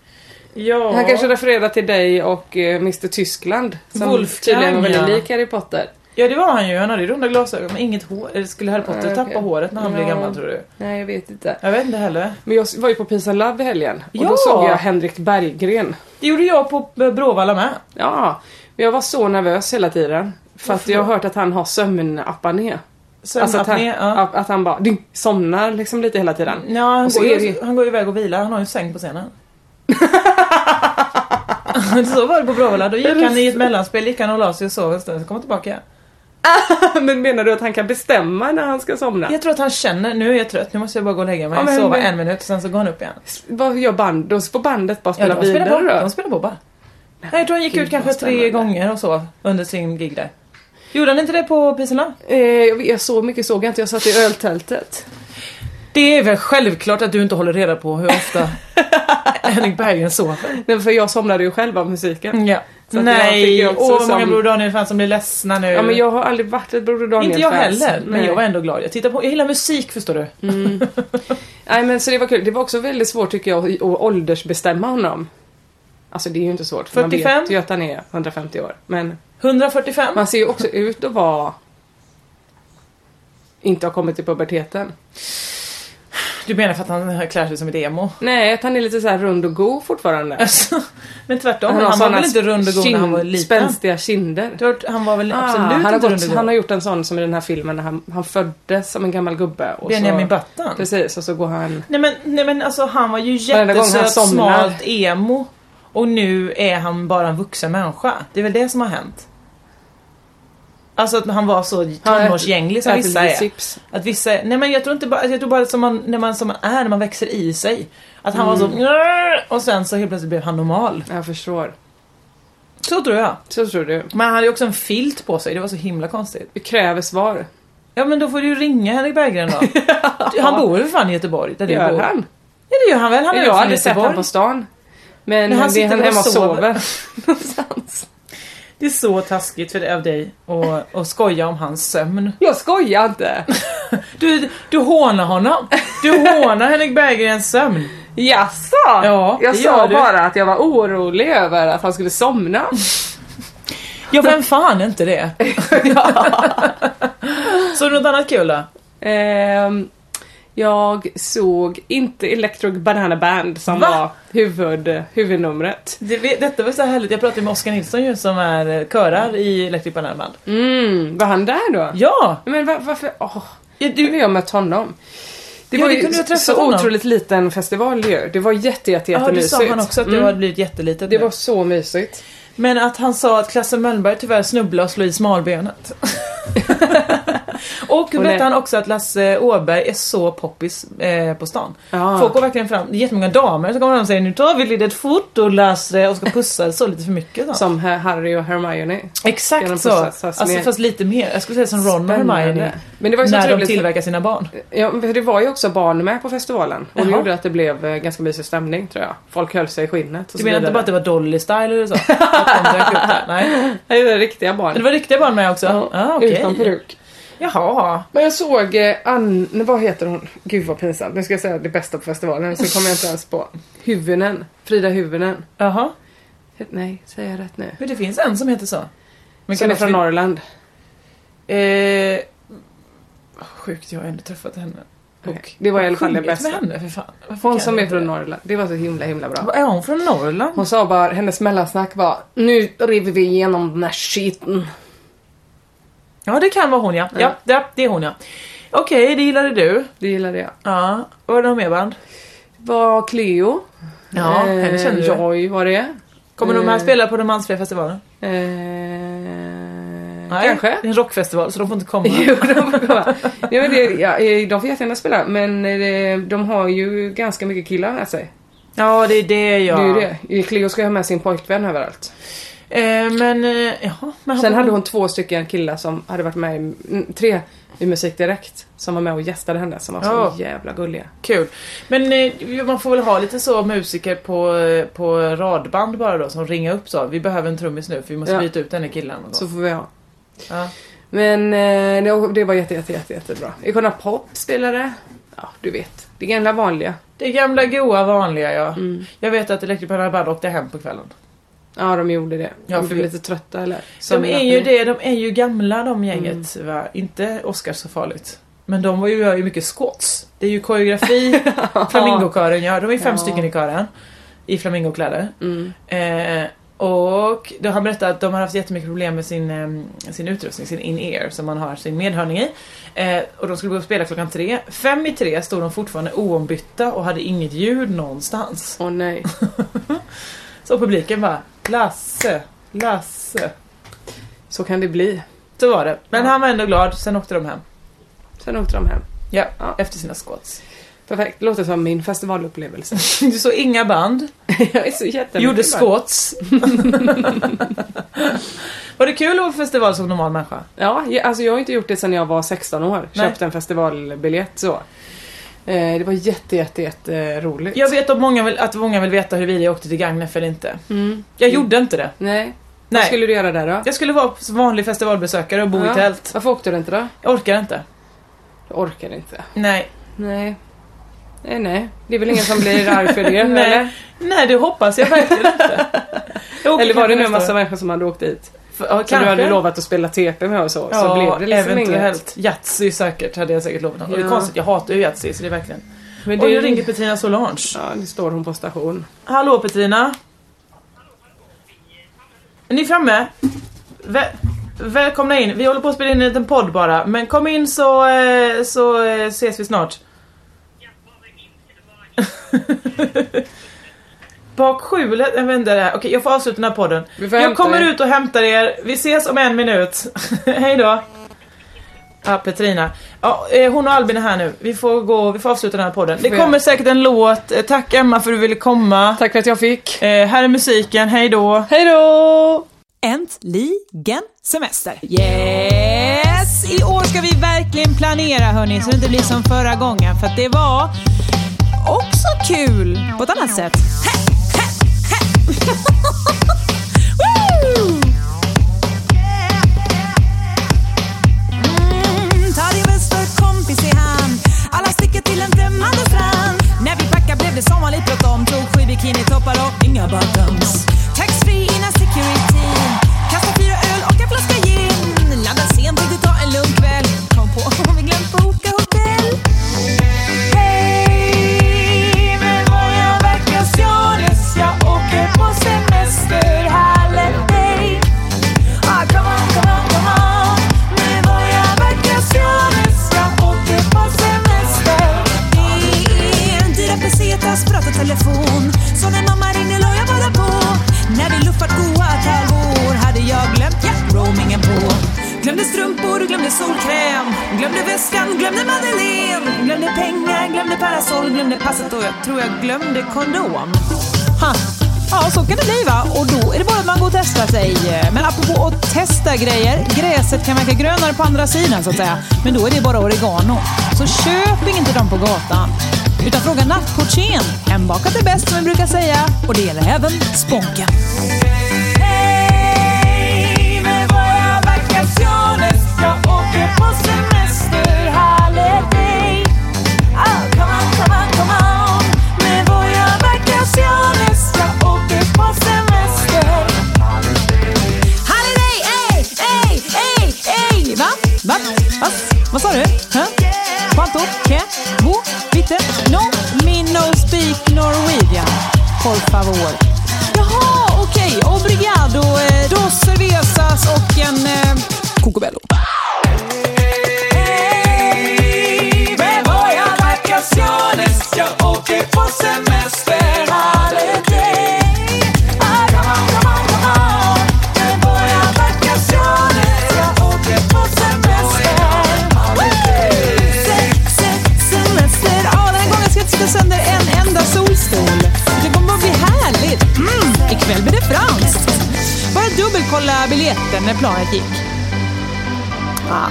Speaker 1: Ja.
Speaker 2: Han kanske refererar till dig och eh, Mr Tyskland. Som
Speaker 1: Wolfgang,
Speaker 2: tydligen var väldigt
Speaker 1: ja.
Speaker 2: lik Harry Potter.
Speaker 1: ja, det var han ju. Han hade ju runda glasögon men inget hår. Eller skulle Harry Potter
Speaker 2: Nej, okej.
Speaker 1: tappa håret när han blev
Speaker 2: Ja.
Speaker 1: gammal tror du?
Speaker 2: Nej, jag vet inte.
Speaker 1: Jag vet inte heller.
Speaker 2: Men jag var ju på Peace and Love i helgen. Och
Speaker 1: Ja!
Speaker 2: då såg jag Henrik Berggren.
Speaker 1: Det gjorde jag på eh, Bråvalla med.
Speaker 2: Ja, men jag var så nervös hela tiden. För att jag har hört att han har sömnapné. Alltså att han,
Speaker 1: Sömnapné, ja.
Speaker 2: att han bara ding, somnar liksom lite hela tiden.
Speaker 1: Ja, han,
Speaker 2: Och så
Speaker 1: går
Speaker 2: är det
Speaker 1: ju,
Speaker 2: ju-
Speaker 1: han går ju iväg och vilar. Han har ju en säng på scenen. så var det på Bråvalla. Då gick han i ett mellanspel, gick han och la sig och sov en stund, sen kom han tillbaka.
Speaker 2: Men menar du att han kan bestämma när han ska somna?
Speaker 1: Jag tror att han känner, nu är jag trött, nu måste jag bara gå och lägga mig.
Speaker 2: Ja, men-
Speaker 1: sova
Speaker 2: men-
Speaker 1: en minut, sen så går han upp igen.
Speaker 2: Vad gör band? Då får bandet bara
Speaker 1: Ja,
Speaker 2: spela
Speaker 1: de spelar på,
Speaker 2: vidare
Speaker 1: de
Speaker 2: då?
Speaker 1: spelar på bara. Nej, jag tror han gick
Speaker 2: Gud,
Speaker 1: ut kanske
Speaker 2: vad
Speaker 1: tre
Speaker 2: spännande.
Speaker 1: gånger och så under sin gig där. Gjorde han inte det på Pisarna?
Speaker 2: Eh, jag vet- så mycket såg jag inte, jag satt i öltältet.
Speaker 1: Det är väl självklart att du inte håller reda på hur ofta Henrik Berggren sover.
Speaker 2: Nej, för jag somnade ju själv av musiken.
Speaker 1: Ja.
Speaker 2: Så att jag fick
Speaker 1: Nej,
Speaker 2: ju
Speaker 1: åh
Speaker 2: också
Speaker 1: vad många
Speaker 2: som-
Speaker 1: Broder Daniel-fans som blir ledsna nu.
Speaker 2: Ja men jag har aldrig varit ett Broder Daniel
Speaker 1: inte jag heller, men jag var
Speaker 2: Nej.
Speaker 1: ändå glad. Jag tittar på, jag gillar musik förstår du.
Speaker 2: Nej men så det var kul. Det var också väldigt svårt tycker jag att att åldersbestämma honom. Alltså det är ju inte svårt för
Speaker 1: 45?
Speaker 2: man vet ju att han är 150 år. Men
Speaker 1: 145.
Speaker 2: man ser ju också ut att vara... Inte ha kommit till puberteten.
Speaker 1: Du menar för att han klär sig som ett emo?
Speaker 2: Nej, att han är lite så här rund och go fortfarande.
Speaker 1: Alltså, men tvärtom,
Speaker 2: har
Speaker 1: han, var
Speaker 2: såna
Speaker 1: väl inte rund och god när han var
Speaker 2: kind-
Speaker 1: liten?
Speaker 2: Spänstiga kinder.
Speaker 1: Du har hört, Han var väl
Speaker 2: Ah,
Speaker 1: absolut
Speaker 2: han, har
Speaker 1: inte
Speaker 2: gått,
Speaker 1: rund och
Speaker 2: han har
Speaker 1: god?
Speaker 2: gjort en sån som i den här filmen när han, han föddes som en gammal gubbe. Och
Speaker 1: Benjamin
Speaker 2: så,
Speaker 1: Button?
Speaker 2: Precis, och så går han...
Speaker 1: Nej men, nej men alltså han var ju
Speaker 2: Varenda gång han
Speaker 1: jättesöt,
Speaker 2: somnar.
Speaker 1: smalt emo. Och nu är han bara en vuxen människa. Det är väl det som har hänt. Alltså att han var så tonårsgänglig som
Speaker 2: äter
Speaker 1: vissa
Speaker 2: lite
Speaker 1: är.
Speaker 2: chips.
Speaker 1: Att vissa är. Nej men jag tror inte bara, jag tror bara som man, när man som man är, när man växer i sig. Att han
Speaker 2: Mm.
Speaker 1: var så och sen så helt plötsligt blev han normal.
Speaker 2: Jag förstår.
Speaker 1: Så tror jag.
Speaker 2: Så tror du.
Speaker 1: Men han hade ju också en filt på sig, det var så himla konstigt.
Speaker 2: Vi kräver svar.
Speaker 1: Ja men då får du ju ringa Henrik Berggren då. Han bor väl för fan i Göteborg? Där du
Speaker 2: Gör
Speaker 1: bor.
Speaker 2: han?
Speaker 1: Ja det gör han väl. Han är väl
Speaker 2: jag har
Speaker 1: från
Speaker 2: aldrig sett
Speaker 1: Göteborg.
Speaker 2: honom på stan. Men
Speaker 1: Men han
Speaker 2: han
Speaker 1: sitter
Speaker 2: är han
Speaker 1: där och
Speaker 2: hemma och
Speaker 1: sover.
Speaker 2: sover.
Speaker 1: Det är så taskigt för av dig att, att skoja om hans sömn.
Speaker 2: Jag skojar inte.
Speaker 1: Du, du hånar honom. Du hånar Henrik Berggrens sömn.
Speaker 2: Jaså?
Speaker 1: Ja,
Speaker 2: jag
Speaker 1: det gör
Speaker 2: sa
Speaker 1: du.
Speaker 2: bara att jag var orolig över att han skulle somna.
Speaker 1: Ja vem fan är inte det? Så något annat kul då?
Speaker 2: Ehm, jag såg inte Electric Banana Band som
Speaker 1: Va?
Speaker 2: var huvud, huvudnumret.
Speaker 1: Det, vet- detta var så härligt, jag pratade med Oskar Nilsson ju som är eh, körar i Electric Banana Band.
Speaker 2: Mm, var han där då?
Speaker 1: Ja!
Speaker 2: Men va- varför? Åh,
Speaker 1: Ja,
Speaker 2: nu har jag mött honom. Det
Speaker 1: Ja,
Speaker 2: var
Speaker 1: det
Speaker 2: ju
Speaker 1: kunde du ha
Speaker 2: så,
Speaker 1: träffat honom.
Speaker 2: otroligt liten festival ju. Det var jätte, jätte,
Speaker 1: ja det
Speaker 2: jättemysigt.
Speaker 1: sa han också att det
Speaker 2: Mm.
Speaker 1: har blivit jättelitet
Speaker 2: Det
Speaker 1: nu.
Speaker 2: var så mysigt.
Speaker 1: Men att han sa att Klasse Mölnberg tyvärr snubblade och slog i smalbenet. och
Speaker 2: Och
Speaker 1: berättade
Speaker 2: det-
Speaker 1: han också att Lasse Åberg är så poppis eh, på stan.
Speaker 2: Ja.
Speaker 1: Folk går verkligen fram, det är jättemånga damer som kommer fram och säger nu tar vi ett litet foto Lasse och ska pussa så lite för mycket. Då.
Speaker 2: Som här- Harry och Hermione.
Speaker 1: Exakt
Speaker 2: Ska de
Speaker 1: så.
Speaker 2: pussas? Fast
Speaker 1: alltså
Speaker 2: mer-
Speaker 1: fast lite mer, jag skulle säga som Ron och Hermione.
Speaker 2: Spännande. Men det var ju så
Speaker 1: när de
Speaker 2: otroligt-
Speaker 1: tillverkar sina barn.
Speaker 2: Ja, men för det var ju också barn med på festivalen. Och det
Speaker 1: Jaha.
Speaker 2: gjorde att det blev eh, ganska mysig stämning tror jag. Folk höll sig i skinnet. och
Speaker 1: Du
Speaker 2: så
Speaker 1: menar inte
Speaker 2: vidare.
Speaker 1: bara att det var Dolly Style eller så? Att de dök upp där? Nej.
Speaker 2: Nej, det är riktiga barn.
Speaker 1: Men det var riktiga barn med också? Ja, ah, okej.
Speaker 2: Utan peruk.
Speaker 1: Jaha.
Speaker 2: Men jag såg eh, Ann... Vad heter hon? Gud vad pinsamt. Nu ska jag säga det bästa på festivalen så kommer jag inte ens på. Huvuden. Frida Huvuden.
Speaker 1: Jaha.
Speaker 2: Nej, säger jag rätt nu?
Speaker 1: Men det finns en som heter så. Men
Speaker 2: Som är från
Speaker 1: vi-
Speaker 2: Norrland.
Speaker 1: Eh, sjukt, jag har ändå träffat henne.
Speaker 2: Nej, det var i alla fall det
Speaker 1: sjungit
Speaker 2: bästa.
Speaker 1: med henne för fan. Varför
Speaker 2: Hon
Speaker 1: kan
Speaker 2: som
Speaker 1: jag
Speaker 2: är
Speaker 1: inte
Speaker 2: från
Speaker 1: det?
Speaker 2: Norrland. Det var så himla himla bra.
Speaker 1: Vad Är hon från Norrland?
Speaker 2: Hon sa bara, hennes mellansnack var Nu river vi igenom den här skiten.
Speaker 1: Ja, det kan vara hon ja. Ja, det, det är hon ja. Okej, det gillade du.
Speaker 2: Det gillade jag.
Speaker 1: Ja, var det någon mer band?
Speaker 2: Var Cleo.
Speaker 1: Ja,
Speaker 2: Eh,
Speaker 1: henne känner du.
Speaker 2: Joy var det.
Speaker 1: Kommer de här spela på den mansfria festivalen?
Speaker 2: Eh, kanske.
Speaker 1: Det är en rockfestival så de får inte komma.
Speaker 2: Jo, de får komma. Nej, men det, ja, eh, de får jättegärna spela men eh, de har ju ganska mycket killar med sig.
Speaker 1: Ja, det är det ja.
Speaker 2: Det är ju det. Cleo ska ju ha med sin pojkvän överallt.
Speaker 1: Eh, men, eh, jaha. Men
Speaker 2: Sen hade hon två stycken killar som hade varit med i, mm, tre i Musik Direkt som var med och gästade henne som var så
Speaker 1: Ja.
Speaker 2: jävla gulliga.
Speaker 1: Kul. Men eh, man får väl ha lite så musiker på, eh, på radband bara då som ringer upp så. Vi behöver en trummis nu för vi måste
Speaker 2: Ja.
Speaker 1: byta ut den här killen. någon gång."
Speaker 2: Så får vi ha.
Speaker 1: Ja.
Speaker 2: Men eh, det, det var jätte, jätte, jätte, jättebra. Icona Pop spelade. Ja, du vet. Det gamla vanliga.
Speaker 1: Det gamla goa vanliga ja. Jag vet att Electric Banana Band åkte hem på kvällen.
Speaker 2: Ja, Mm. de gjorde det.
Speaker 1: Ja,
Speaker 2: de
Speaker 1: för
Speaker 2: blev
Speaker 1: vi-
Speaker 2: lite trötta eller?
Speaker 1: De är
Speaker 2: Somnade.
Speaker 1: ju det, de är ju gamla de gänget
Speaker 2: Mm.
Speaker 1: va. Inte Oscar så farligt. Men de var ju, gör ju mycket skots. Det är ju koreografi Flamingokören gör. De är fem
Speaker 2: Ja.
Speaker 1: stycken i kören. I flamingokläder.
Speaker 2: Mm.
Speaker 1: Eh, och då har han berättat att de har haft jättemycket problem med sin, eh, sin utrustning, sin in-ear som man har sin medhörning i. Eh, och de skulle gå och spela klockan tre. Fem i tre stod de fortfarande oombytta och hade inget ljud någonstans.
Speaker 2: Åh nej.
Speaker 1: Så publiken bara Lasse, Lasse.
Speaker 2: Så kan det bli.
Speaker 1: Så var det. Men han var ändå glad, sen åkte de hem.
Speaker 2: Sen åkte de hem.
Speaker 1: Ja,
Speaker 2: Ja.
Speaker 1: efter sina skotts.
Speaker 2: Perfekt. Låter som min festivalupplevelse.
Speaker 1: Så inga band,
Speaker 2: jag är så jättemycket
Speaker 1: gjorde
Speaker 2: bara-
Speaker 1: skotts. var det kul att vara på festival som normal människa?
Speaker 2: Ja, jag, alltså jag har inte gjort det sedan jag var 16 år.
Speaker 1: Nej.
Speaker 2: Köpte en festivalbiljett så. Eh, det var jätte, jätte, jätte eh, roligt.
Speaker 1: Jag vet att många vill, att många vill veta huruvida jag åkte till Gagnef eller inte. Jag gjorde inte det.
Speaker 2: Nej. Vad
Speaker 1: Nej.
Speaker 2: Mm. skulle du göra där då?
Speaker 1: Jag skulle vara som vanlig festivalbesökare och bo
Speaker 2: Ja.
Speaker 1: i tält.
Speaker 2: Varför åkte du inte då?
Speaker 1: Jag orkar inte.
Speaker 2: Jag orkar inte.
Speaker 1: Nej.
Speaker 2: Nej. Nej, nej. Det är väl ingen som blir arg för det, eller?
Speaker 1: Nej. Nej, det hoppas jag verkligen inte. Jag åker
Speaker 2: Eller var det nu
Speaker 1: kanske
Speaker 2: en
Speaker 1: nästa
Speaker 2: massa
Speaker 1: år.
Speaker 2: människor som hade åkt dit?
Speaker 1: För- Ja,
Speaker 2: Som du hade
Speaker 1: kanske.
Speaker 2: lovat att spela TP med och så.
Speaker 1: Ja,
Speaker 2: så blev det liksom inget.
Speaker 1: eventuellt. Yatzy säkert, hade jag säkert lovat någon. Och det är
Speaker 2: Ja.
Speaker 1: konstigt, jag hatar ju Yatzy så det är verkligen...
Speaker 2: Men
Speaker 1: Och
Speaker 2: det
Speaker 1: nu
Speaker 2: är ju-
Speaker 1: ringer Petrina Solange.
Speaker 2: Ja, nu står hon på station.
Speaker 1: Hallå Petrina? Är ni framme? Väl välkomna in. Vi håller på att spela in en liten podd bara. Men kom in så, eh, så eh, ses vi snart. Bak skjulet, jag vänder det här. Okej, jag får avsluta den här podden.
Speaker 2: Vi får
Speaker 1: Jag
Speaker 2: hämta
Speaker 1: kommer
Speaker 2: er.
Speaker 1: ut och hämtar er. Vi ses om en minut. Hej då. Ja, Petrina. Ja, eh, hon och Albin är här nu. Vi får gå, vi får avsluta den här podden. Det
Speaker 2: Får jag-
Speaker 1: kommer säkert en låt. Eh, Tack Emma för att du ville komma.
Speaker 2: Tack för att jag fick.
Speaker 1: Eh, här är musiken, hej då.
Speaker 2: Hej då!
Speaker 5: Äntligen semester! Yes! I år ska vi verkligen
Speaker 6: verkligen planera hörni, så det inte blir som förra gången. För att det var också kul på ett annat sätt. Woo! Mm, Ta din bästa kompis i hand Alla sticker till en främmande strand När vi packar blev det som vanligt bråttom Tog sju bikinitoppar och inga bottoms Taxfree innan security Kasta fyra öl och en flaska gin Landade sent, tänkte ta en lugn kväll Kom på vi glömt boka hotell Hej, men vad jag verkar stjärnes Jag åker på semester, holiday Ah, come on, come on, come on Me voy a vacaciones Jag åker på semester Det är en dyra pesetas, prata telefon Så när mamma ringde la jag bara på När vi luffat goa tärvor Hade jag glömt, ja, roamingen på Glömde strumpor, glömde solkräm Glömde väskan, glömde Madeleine Glömde pengar, glömde parasoll Glömde passet och jag tror jag glömde kondom ha. Ja, så kan det bli va. Och då är det bara att man går och testar sig. Men apropå att testa grejer, gräset kan verka grönare på andra sidan så att säga. Men då är det bara oregano. Så köp inte dem på gatan. Utan fråga nattportieren. Hembakat är bäst som vi brukar säga. Och det gäller även sponken. Hej, med våra vacationer. Jag åker på semester, holiday. Ah, come on, come on, come on. Me voy a vacaciones, jag åker på semester. Holiday, ey, ey, ey, ey. Va? Va? Va? Vad sa du? Hä? Quanto? Que? Bo? Bitte? No? Me no speak Norwegian. Por favor. Jaha, okej. Obrigado. eh, Dos cervezas och en... Eh... Cocobello.
Speaker 3: Me voy a vacaciones, jag åker på semester. Holiday. Ah, come on, come on, come on. Me voy a vacaciones, jag åker på semester.
Speaker 6: Se- se- Semester. Ja, den här gången ska jag inte sitta sönder en enda solstol. Det kommer att bli härligt. Mm, ikväll blir det franskt. Bara dubbelkolla biljetten när planet gick. Ja,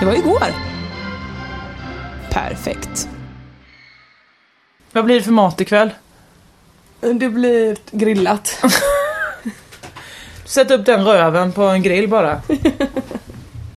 Speaker 6: det var ju igår. Perfekt.
Speaker 1: Vad blir det för mat ikväll? Eh.
Speaker 2: Det blir grillat.
Speaker 1: Sätt upp den röven på en grill bara.